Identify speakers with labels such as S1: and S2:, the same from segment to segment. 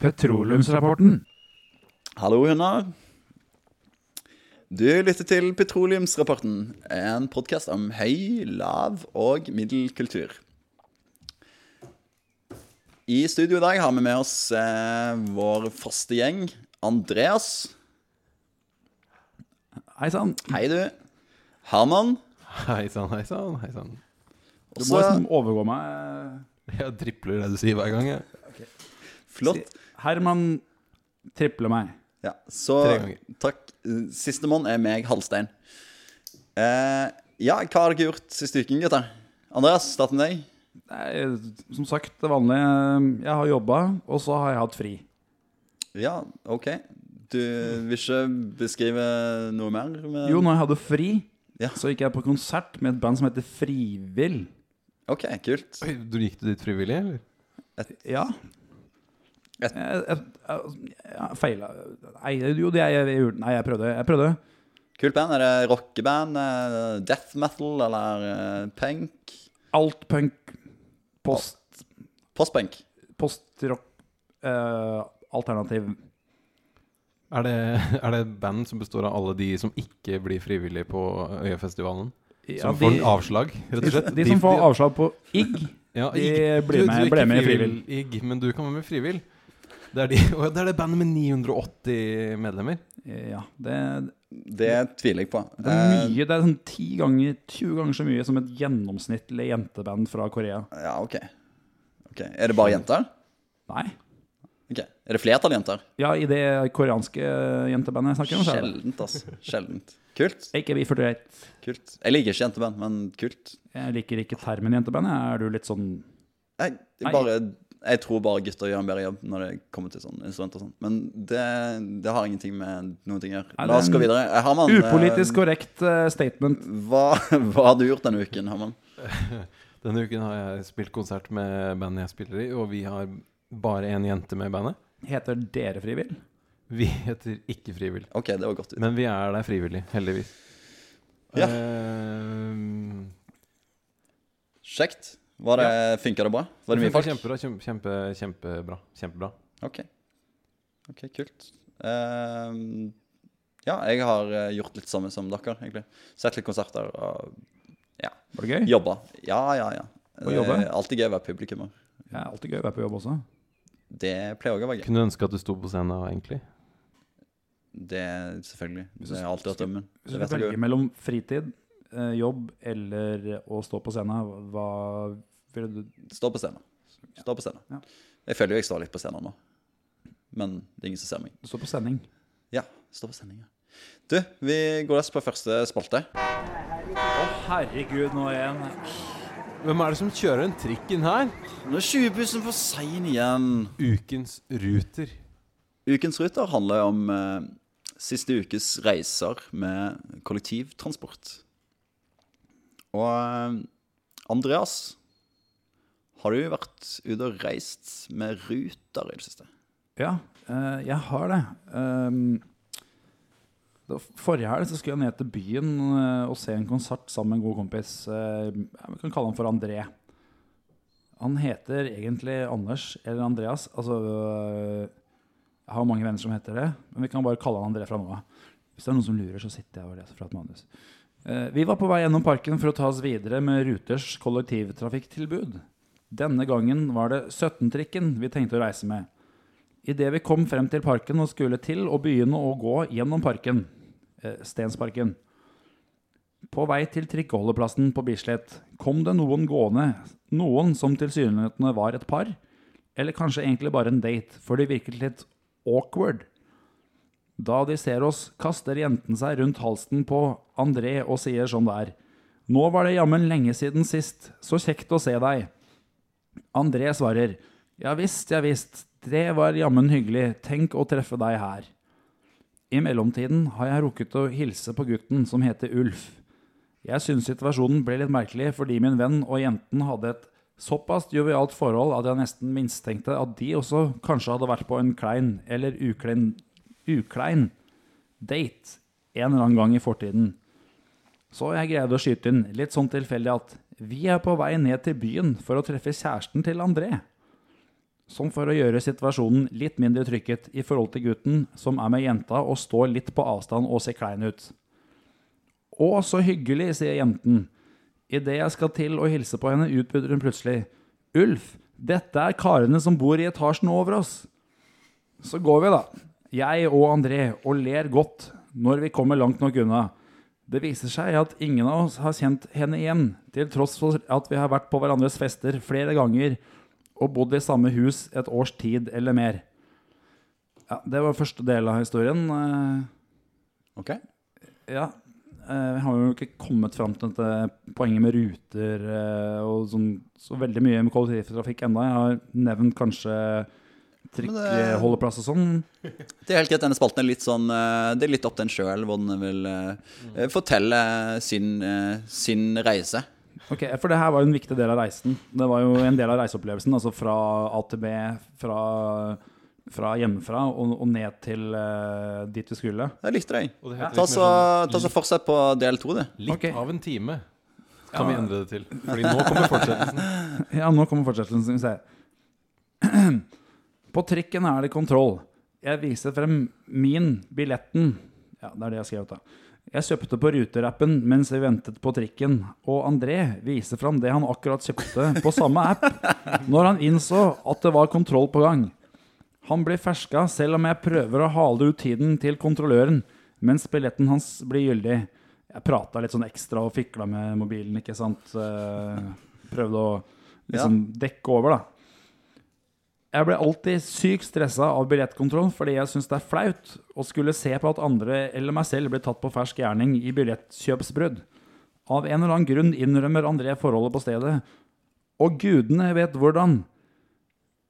S1: Petroleumsrapporten.
S2: Hallo, hunder. Du lytter til Petroleumsrapporten, en podkast om høy, lav og middelkultur. I studio i dag har vi med oss eh, vår faste gjeng, Andreas.
S1: Hei sann.
S2: Hei, du. Herman.
S3: Hei sann, hei sann. Hei sann.
S1: Du
S2: Også
S1: må liksom overgå meg.
S3: Jeg dripler det du sier hver gang. Jeg.
S2: flott.
S1: Herman tripler meg.
S2: Ja, så
S3: Tre ganger.
S2: takk. Sistemann er meg, Halstein. Eh, ja, hva har dere gjort siste uken, gutter? Andreas, start med deg.
S1: Nei, som sagt, det vanlige. Jeg har jobba, og så har jeg hatt fri.
S2: Ja, OK. Du vil ikke beskrive noe mer? Med...
S1: Jo, når jeg hadde fri,
S2: Ja.
S1: så gikk jeg på konsert med et band som heter Frivill.
S2: OK, kult.
S3: Oi, du gikk du dit frivillig, eller?
S1: Ja. Eh,
S2: Et-
S1: Jeg, jeg, jeg, jeg feila Nei, jo, det jeg, jeg gjorde Nei, jeg prøvde. Jeg prøvde.
S2: Kult band. Er det rockeband, eh, death metal eller eh, punk?
S1: Alt punk, post,
S2: Postpunk.
S1: postrock, eh, alternativ.
S3: Er det, er det et band som består av alle de som ikke blir frivillige på Øyafestivalen?
S1: Ja,
S3: Som
S1: de,
S3: får avslag, rett og slett?
S1: de som får avslag på IGG,
S3: ja,
S1: de
S3: ikke-
S1: blir
S3: du-
S1: med-
S3: du er
S1: ble
S3: ikke
S1: med i
S3: frivill- Igg, men du kan være med i frivill. Det er, de, Å, det er det bandet med 980 medlemmer.
S1: ja, det,
S2: Det tviler jeg på.
S1: det er mye. Det er sånn 10 ganger, 20 ganger så mye som et gjennomsnittlig jenteband fra Korea.
S2: Eh, ja, OK. Ok, Er det bare jenter?
S1: Nei.
S2: Ok, Er det flertall jenter?
S1: Ja, i det koreanske jentebandet jeg snakker om. så er det det.
S2: Sjeldent, altså. Sjeldent. Kult.
S1: AKB48.
S2: kult. Jeg liker ikke jenteband, men kult.
S1: Jeg liker ikke termen jenteband. jeg. Er du litt sånn
S2: Jeg, jeg,
S1: Nei.
S2: bare, jeg tror bare gutter gjør en bedre jobb når det kommer til sånn instrumenter og sånn. Men det, det har ingenting med noen ting å gjøre.
S1: Nei, det er
S2: La oss gå
S1: en
S2: videre. Eh, Herman, eh,
S1: upolitisk korrekt eh, statement?
S2: hva, hva har du gjort denne uken, Herman?
S3: Denne uken har jeg spilt konsert med bandet jeg spiller i, og vi har bare én jente med i bandet.
S1: Heter dere frivill?
S3: Vi heter ikke Frivill.
S2: OK, det var godt. ut.
S3: Men vi er der frivillig, heldigvis.
S2: Ja.
S3: Eh,
S2: Kjekt. Var det, Funka det bra? Var det mye folk?
S3: Kjempebra, kjempe, kjempe, kjempebra. kjempebra.
S2: OK. Ok, Kult. Ehm, ja, jeg har eh, gjort litt samme som dere, egentlig. Sett litt konserter og
S1: Var det gøy?
S2: jobba. Ja, ja, ja.
S1: Og jobbe?
S2: Det er Alltid gøy å være publikummer.
S1: Det er alltid gøy å være på jobb også.
S2: Det pleier òg å være gøy.
S3: Kunne ønske at du sto på scenen da, egentlig.
S2: Det er selvfølgelig.
S1: Hvis du
S2: Det har alltid vært drømmen. Det
S1: Hvis du
S2: vet jeg
S1: velger
S2: jo.
S1: mellom fritid, eh, jobb eller å stå på scenen, hva ville du
S2: Stå på scenen. Stå på scenen.
S1: Ja.
S2: Jeg føler jo jeg står litt på scenen nå, men det er ingen som ser meg.
S1: Stå på sending.
S2: Ja, stå på sending. Ja. Du, vi går løs på første spalte.
S1: Herregud, nå igjen.
S3: Hvem er det som kjører den trikken her?
S2: Nå er 20-bussen for sein igjen.
S3: Ukens Ruter.
S2: Ukens ruter handler om eh, siste ukes reiser med kollektivtransport. Og eh, Andreas, har du vært ute og reist med ruter i det siste?
S1: Ja, eh, jeg har det. Ehm, det var forrige helg så skulle jeg ned til byen eh, og se en konsert sammen med en god kompis. Eh, ja, vi kan kalle han for André. Han heter egentlig Anders eller Andreas. Altså øh, Jeg har mange venner som heter det, men vi kan bare kalle han André fra nå av. Hvis det er noen som lurer, så sitter jeg og leser fra et manus. Eh, Vi var på vei gjennom parken for å ta oss videre med Ruters kollektivtrafikktilbud. Denne gangen var det 17-trikken vi tenkte å reise med. Idet vi kom frem til parken og skulle til å begynne å gå gjennom parken, eh, Stensparken På vei til trikkeholdeplassen på Bislett kom det noen gående, noen som tilsynelatende var et par, eller kanskje egentlig bare en date, for de virket litt awkward. Da de ser oss, kaster jenten seg rundt halsen på André og sier som det er. Nå var det jammen lenge siden sist, så kjekt å se deg. André svarer Ja visst, ja visst, det var jammen hyggelig, tenk å treffe deg her. I mellomtiden har jeg rukket å hilse på gutten som heter Ulf. Jeg syns situasjonen ble litt merkelig fordi min venn og jenten hadde et såpass jovialt forhold at jeg nesten mistenkte at de også kanskje hadde vært på en klein eller uklein, uklein date en eller annen gang i fortiden. Så jeg greide å skyte inn, litt sånn tilfeldig at vi er på vei ned til byen for å treffe kjæresten til André. Som for å gjøre situasjonen litt mindre trykket i forhold til gutten som er med jenta og står litt på avstand og ser klein ut. Å, så hyggelig, sier jenten. Idet jeg skal til å hilse på henne, utbryter hun plutselig. Ulf, dette er karene som bor i etasjen over oss. Så går vi, da. Jeg og André, og ler godt når vi kommer langt nok unna. Det viser seg at ingen av oss har kjent henne igjen, til tross for at vi har vært på hverandres fester flere ganger og bodd i samme hus et års tid eller mer. Ja, Det var første del av historien. Eh,
S2: OK?
S1: ja. eh, Vi har jo ikke kommet fram til dette poenget med ruter eh, og sånn, så veldig mye med kollektivtrafikk ennå. Jeg har nevnt kanskje trikkeholdeplass og sånn.
S2: Det er helt greit, denne spalten er litt sånn eh, Det er litt opp til en sjøl hvor den vil eh, eh, fortelle sin, eh, sin reise.
S1: Ok, For det her var jo en viktig del av reisen. Det var jo en del av reiseopplevelsen. Altså fra A til B, fra, fra hjemmefra og, og ned til eh, dit vi skulle.
S2: Jeg likte deg.
S3: Og det
S2: Ta
S3: heter litt
S2: så,
S3: mer sånn
S2: ta så Fortsett på del to, du.
S3: Litt
S1: Ok.
S3: av en time kan vi endre det til. Fordi nå kommer fortsettelsen.
S1: Ja, nå kommer fortsettelsen. Skal vi se. På trikken er det kontroll. Jeg viser frem min, billetten. Ja, det er det jeg har skrevet, da. Jeg kjøpte på Ruterappen mens vi ventet på trikken, og André viser fram det han akkurat kjøpte på samme app når han innså at det var kontroll på gang. Han blir ferska selv om jeg prøver å hale ut tiden til kontrolløren mens billetten hans blir gyldig. Jeg prata litt sånn ekstra og fikla med mobilen, ikke sant. Eh, Prøvde å liksom dekke over, da. Jeg ble alltid sykt stressa av billettkontroll fordi jeg syns det er flaut å skulle se på at andre eller meg selv blir tatt på fersk gjerning i billettkjøpsbrudd. Av en eller annen grunn innrømmer André forholdet på stedet, og gudene vet hvordan.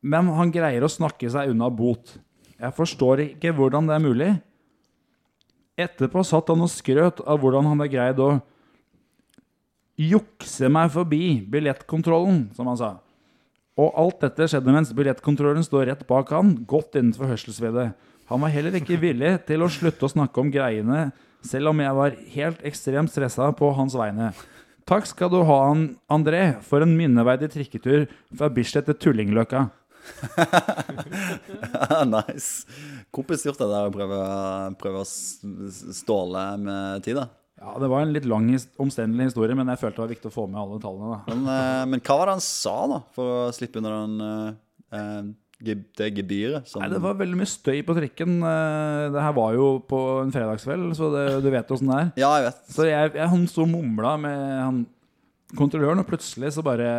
S1: Men han greier å snakke seg unna bot. Jeg forstår ikke hvordan det er mulig. Etterpå satt han og skrøt av hvordan han hadde greid å jukse meg forbi billettkontrollen, som han sa. Og alt dette skjedde mens billettkontrollen står rett bak han, godt innenfor hørselsvidde. Han var heller ikke villig til å slutte å snakke om greiene, selv om jeg var helt ekstremt stressa på hans vegne. Takk skal du ha, An- André, for en minneverdig trikketur fra Bislett til Tullingløkka.
S2: nice. Kompis gjort det der å prøve, prøve å s- s- ståle med tida.
S1: Ja, Det var en litt lang, his- omstendelig historie, men jeg følte det var viktig å få med alle tallene. da.
S2: Men, eh, men hva var det han sa, da, for å slippe unna den, eh, eh, geb- det gebyret? Som,
S1: Nei, Det var veldig mye støy på trikken. Eh, Det her var jo på en fredagskveld, så det, du vet åssen det er.
S2: Ja, jeg vet.
S1: Så jeg, jeg, han sto og mumla med han kontrolløren, og plutselig så bare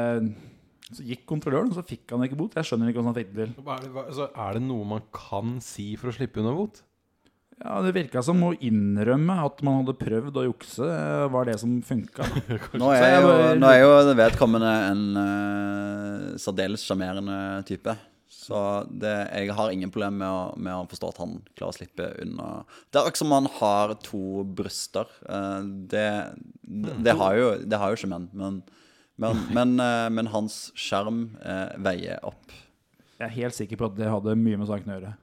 S1: så gikk kontrolløren, og så fikk han ikke bot. Jeg skjønner ikke hvordan han fikk det til.
S3: Hva Er det, hva- altså, er det noe man kan si for å slippe unna bot?
S1: Ja, Det virka som å innrømme at man hadde prøvd å jukse, eh, var det som funka.
S2: Nå
S1: Så
S2: er
S1: jeg
S2: jo,
S1: bare-
S2: nå er jo det vedkommende en eh, særdeles sjarmerende type. Så det, jeg har ingen problem med å, med å forstå at han klarer å slippe unna. Det er akkurat som han har to bryster. Eh, det, det, det har jo, det har jo ikke menn. Men, men, men, eh, men hans skjerm eh, veier opp.
S1: Jeg er helt sikker på at det hadde mye med saken å gjøre.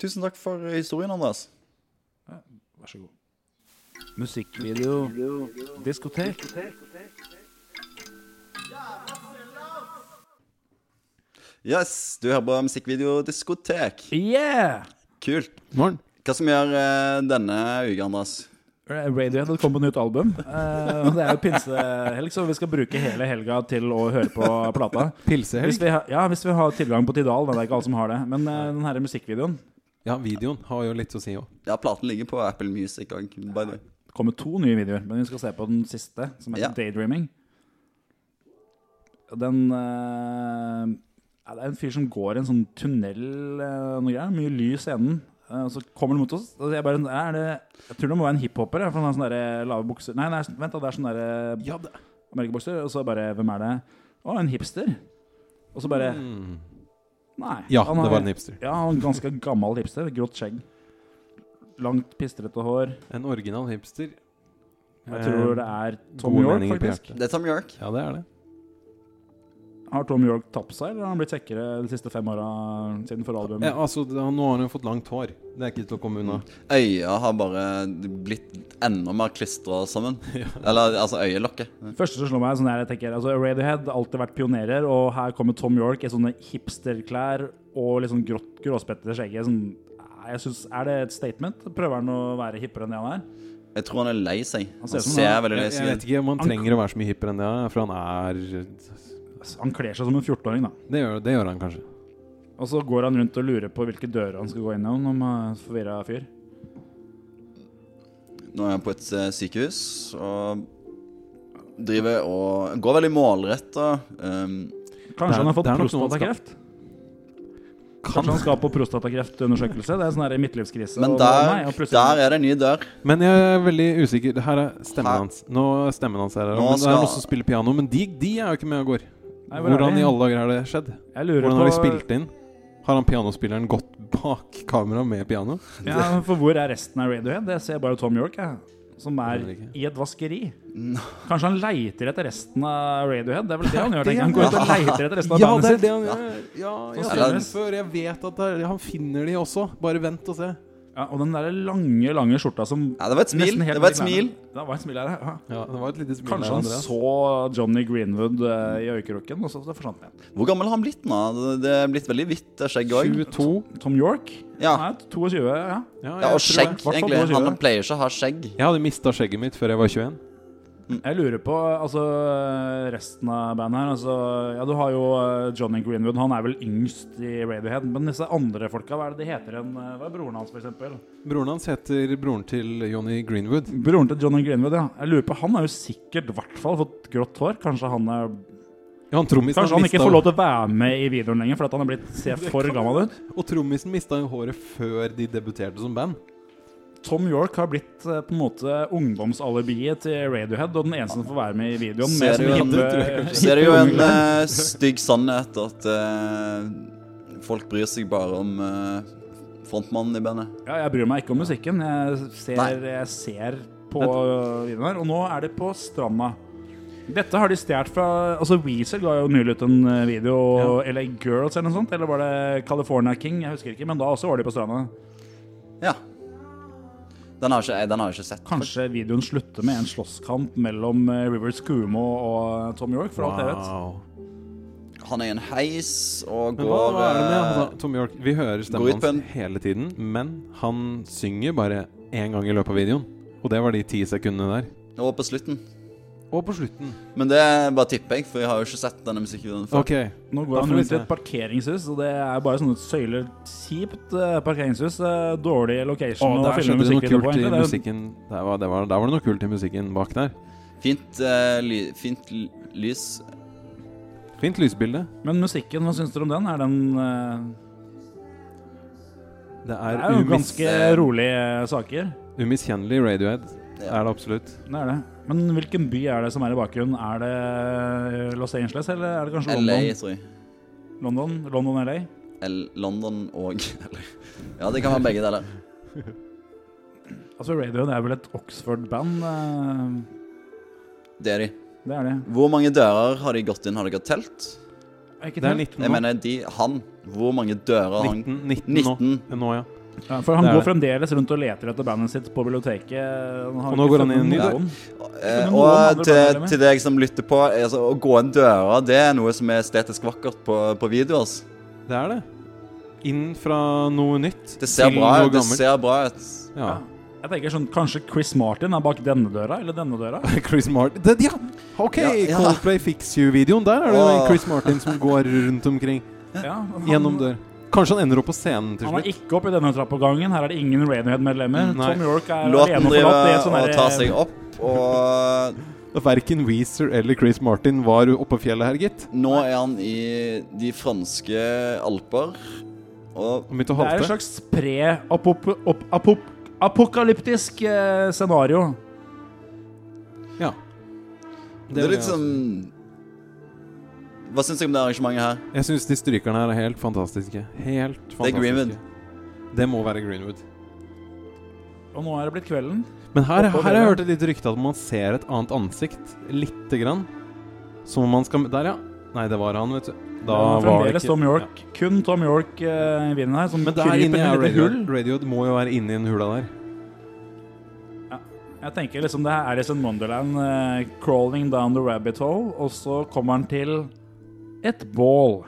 S2: Tusen takk for historien, Andreas.
S1: Vær så god. Musikkvideo. Diskotek.
S2: Yes, du hører på Musikkvideodiskotek.
S1: Yeah!
S2: Kult.
S3: Morgen.
S2: Hva som gjør eh, denne uka, Andreas?
S1: Radiohead hadde kommet på nytt album. Eh, og det er jo pinsehelg, så vi skal bruke hele helga til å høre på plata. Hvis
S3: Pilsehelg.
S1: vi, har- ja, hvis vi har tilgang på Tidal. Det er ikke alle som har det. Men eh, den her musikkvideoen
S3: Ja, videoen har jo litt å si òg.
S2: Ja, platen ligger på Apple Music òg, by the way.
S1: Det kommer to nye videoer, men vi skal se på den siste, som heter
S2: Ja.
S1: Daydreaming. Den eh, ja, Det er en fyr som går i en sånn tunnel eh, og noe greier. Mye lys i enden. Eh, og så kommer han mot oss. Og jeg, bare, er det, jeg tror det må være en hiphoper. jeg, For han har sånne der eh, lave bukser Nei, nei vent, da. Det er sånne der
S3: Ja, det
S1: merkebukser. Og så bare Hvem er det? Å, en hipster. Og så bare
S3: Mm.
S1: Nei.
S3: ja,
S1: han
S3: det
S1: har-
S3: var en hipster.
S1: Ja, han er ganske gammel hipster. Grått skjegg. Langt, pistrete hår.
S3: En original hipster.
S1: Jeg tror det er Tom
S3: gode
S1: York,
S3: meninger på
S1: faktisk.
S3: hjertet.
S2: Det er Tom York.
S3: Ja, det er det.
S1: Har Tom York tapt seg, eller har han blitt kjekkere de siste fem åra siden forrige album?
S3: Ja, altså, det- nå har han jo fått langt hår. Det er ikke til å komme unna.
S2: Øya har bare blitt enda mer klistra sammen. Eller altså øyelokket.
S1: første som slår meg, er sånn der, jeg tenker altså, Radiohead har alltid vært pionerer, og her kommer Tom York i sånne hipsterklær og litt sånn grått, gråspettete skjegge. Sånn, eh, jeg synes, er det et statement? Prøver han å være hippere enn det han er?
S2: Jeg tror han er lei seg.
S1: ser
S2: Han
S1: ut som
S2: ser
S1: han-
S2: veldig lei
S3: Jeg, jeg
S2: seg
S3: vet ikke om han
S1: Han-
S3: trenger å være så mye hippere enn det, han er, for han er
S1: Altså, Han kler seg som en 14-åring, da.
S3: Det gjør, det gjør han kanskje.
S1: Og så går han rundt og lurer på hvilke dører han skal gå innom om han er forvirra fyr.
S2: ut. Nå er han på et eh, sykehus og driver og går veldig målretta. Um,
S1: Kanskje
S3: Det er-
S1: han har fått
S3: det er nok noe han skal-
S1: prostatakreft? Kanskje han skal på prostatakreftundersøkelse? Det er sånn her midtlivskrise.
S2: men
S1: og- nei,
S2: der,
S1: og plutselig-
S2: der er det en ny dør.
S3: Men jeg er veldig usikker. Det her er stemmen
S2: Her.
S3: hans. Nå er stemmen hans her,
S2: Nå
S3: men Det
S2: skal-
S3: er noen som spiller piano, men de, de er jo ikke med og går.
S1: Nei, hvor er
S3: Hvordan
S1: vi?
S3: i alle dager har det skjedd?
S1: Jeg lurer
S3: Hvordan har de
S1: på-
S3: spilt inn? Har han pianospilleren gått bak kamera med piano?
S1: Ja, for hvor er resten av Radiohead? Jeg ser bare Tom York, jeg. Som er
S3: Det er ikke.
S1: i et vaskeri. Kanskje han leiter etter resten av Radiohead? Det er vel det han gjør? tenker jeg. Han går ut og leiter etter resten av
S3: Ja, det
S1: bandet
S3: er
S1: sitt.
S3: det han gjør! Ja, jeg
S1: Sånn
S3: har sett
S2: spiller
S3: den før. Jeg vet at det er, han finner de også. Bare vent og se.
S1: Ja, og den der lange, lange skjorta som
S2: Ja, det var et smil.
S1: nesten helt
S2: Det var et
S1: ned i
S2: smil.
S1: knærne. Det var et smil her, ja.
S3: Ja, det var et lite smil
S1: Kanskje han så Johnny Greenwood eh, i øyekroken, og så så forsvant han igjen.
S2: Hvor gammel har han blitt nå? Det, det er blitt veldig hvitt det er skjegg òg.
S3: 22.
S1: Tom York?
S2: Ja.
S1: Han er 22, ja.
S2: Ja, og
S3: jeg, tror
S2: skjegg,
S3: det.
S1: Hvertfall
S2: egentlig.
S1: blå
S2: Han
S1: skive.
S2: pleier ikke å ha skjegg.
S3: jeg hadde mista skjegget mitt før jeg var 21.
S1: Jeg lurer på altså, resten av bandet her. Altså, ja, du har jo eh, Johnny Greenwood. Han er vel yngst i Radiohead. Men disse andre folka, hva er det de heter igjen? Eh, Hva er broren hans, f.eks.?
S3: Broren hans heter broren til Johnny Greenwood.
S1: Broren til Johnny Greenwood, ja. Jeg lurer på, Han har jo sikkert i hvert fall fått grått hår. Kanskje han, er,
S3: Ja, han trommisen
S1: kanskje han ikke
S3: mistet-
S1: får lov til å være med i videoen lenger fordi han er blitt ser for gammel ut.
S3: Og trommisen mista jo håret før de debuterte som band.
S1: Tom York har blitt eh, på en måte ungdomsalibiet til Radiohead og den eneste som får være med i videoen.
S2: Ser
S1: Med
S2: du
S1: sånne
S2: han-
S1: hippe-
S3: tror jeg
S2: Så er det jo en
S1: hippe unge.
S2: eh, stygg sannhet at eh, folk bryr seg bare om eh, frontmannen i bandet.
S1: Ja, jeg bryr meg ikke om musikken. Jeg ser,
S2: Nei.
S1: jeg ser på videoen her. Og nå er det på stranda. Dette har de stjålet fra Altså Weezer ga jo nylig ut en eh, video, eller Girls eller noe sånt. Eller var det California King? Jeg husker ikke, men da også var de på stranda.
S2: Ja. Den har ikke, jeg, den har jeg ikke sett.
S1: Kanskje videoen slutter med en slåsskamp mellom eh, Rivers Cuomo og eh, Tom York, for alt jeg vet.
S2: Han er i en heis og
S3: Men hva,
S2: går
S3: hva er det med
S2: eh,
S3: altså, Tom York? Vi hører
S2: går
S3: stemmen
S2: ut på en-
S3: hans hele tiden, men han synger bare én gang i løpet av videoen. Og det var de ti sekundene der.
S2: eh, Og på slutten.
S3: Og på slutten.
S2: Men det bare tipper jeg, for jeg har jo ikke sett denne musikkvideoen før.
S3: Ok.
S1: Nå går
S3: Da
S1: han
S3: får vi
S1: rundt i
S3: se.
S1: et parkeringshus, og det er bare sånne søyler. Kjipt eh, parkeringshus. eh, Dårlig
S3: Å,
S1: location å
S3: der
S1: filme
S3: skjedde det noe
S1: musikkvideo på.
S3: kult i
S1: egentlig. Det er-
S3: musikken. Der var, det var, der var det noe kult i musikken bak der.
S2: Fint, eh, ly, fint l- lys.
S3: Fint lysbilde.
S1: Men musikken, hva syns dere om den? Er den eh,
S3: Det
S1: Det
S3: er, eh,
S1: er jo
S3: umis,
S1: ganske rolige eh, saker.
S3: umiskjennelig Radiohead.
S2: Ja.
S3: Er det absolutt.
S1: Det er det. Men hvilken by er det som er i bakgrunnen? Er det eh, Los Angeles, eller er det kanskje
S2: LA,
S1: London?
S2: tror jeg.
S1: London, London LA?
S2: L London og LA. Ja, det kan være begge deler.
S1: Altså Radiohead er vel et Oxford-band? eh,
S2: Det er de.
S1: Det er det.
S2: Hvor mange dører har de gått inn? Har de gått telt?
S1: Er ikke
S3: Det er
S1: det?
S3: 19
S2: Jeg
S3: nå.
S2: mener de Han. Hvor mange dører har han
S3: 19, 19,
S2: 19.
S3: nå. nå ja.
S1: Ja, for han
S3: Det er
S1: går
S3: det.
S1: fremdeles rundt og leter etter bandet sitt på biblioteket. Han har
S3: Og nå
S1: ikke
S3: går han
S1: funnet
S3: inn i
S1: noen.
S2: Eh,
S1: Men noen
S2: og
S1: andre
S2: til,
S1: bandmedlemmer?
S2: til deg som lytter på, altså, å gå inn døra, det er noe som er estetisk vakkert på, på videoer. ass.
S3: Det er det. Inn fra noe nytt
S2: Det ser
S3: til
S2: bra
S3: noe
S2: ut. Det
S3: gammelt.
S2: ser bra ut.
S3: Ja.
S1: Jeg tenker sånn, Kanskje Chris Martin er bak denne døra, eller denne døra?
S3: Chris Martin det, Ja, ok!
S2: Ja, ja.
S3: Coldplay Fix You-videoen. Der er det jo
S2: Åh.
S3: en Chris Martin som går rundt omkring.
S1: Ja, han,
S3: Gjennom dør. Kanskje han ender opp på scenen til
S1: Han er
S3: slutt.
S1: ikke oppe i denne trappegangen. Her er det ingen Radiohead-medlemmer.
S3: Nei.
S1: Tom York er
S2: Låten
S1: alene og forlatt. Det er
S2: driver
S1: sånn
S2: og
S1: der-
S2: tar seg opp, og
S3: Verken Weezer eller Chris Martin var oppå fjellet her, gitt.
S2: nå er han i de franske alper. Og
S3: Han begynte å
S1: Det er et
S3: halte.
S1: slags pre-apokalyptisk eh, scenario.
S3: Ja.
S2: det er litt sånn Hva syns jeg om det arrangementet her?
S3: Jeg syns de strykerne her er helt fantastiske. Helt fantastiske.
S2: Greenwood.
S3: Det må være Greenwood.
S1: Og nå er det blitt kvelden.
S3: Men her,
S1: Oppå
S3: her har jeg
S1: fjellet.
S3: hørt et lite rykte at man ser et annet ansikt lite grann. Som om man skal Der, ja. Nei, det var han, vet du. Da
S1: Ja,
S3: var det
S1: Fremdeles
S3: ikke-
S1: Tom York. Kun Tom York eh, vinner her, som
S3: Men der
S1: kryper
S3: inne
S1: ned i
S3: er
S1: et
S3: radio.
S1: hull.
S3: radio må jo være inni den hula der.
S1: Jeg tenker liksom det her er Alice in Wonderland eh, crawling down the rabbit hole, og så kommer han til et bål.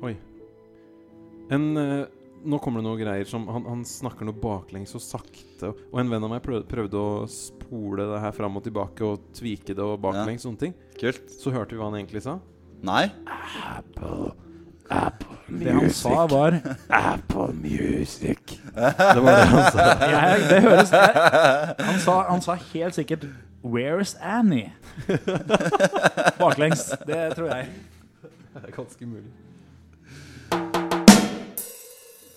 S3: Oi. En, eh, nå kommer det noe greier som han, han snakker noe baklengs og sakte. Og en venn av meg prøvde, prøvde å spole det her fram og tilbake og tvike det og baklengs. sånne ting
S2: Kult.
S3: Så hørte vi hva han egentlig sa.
S2: Nei?
S1: Det han sa, var
S3: Apple Music. Det var det han sa.
S1: jeg, Det høres jeg, han, sa, han sa helt sikkert 'Where's Annie?' Baklengs. Det tror jeg.
S3: Det er ganske mulig.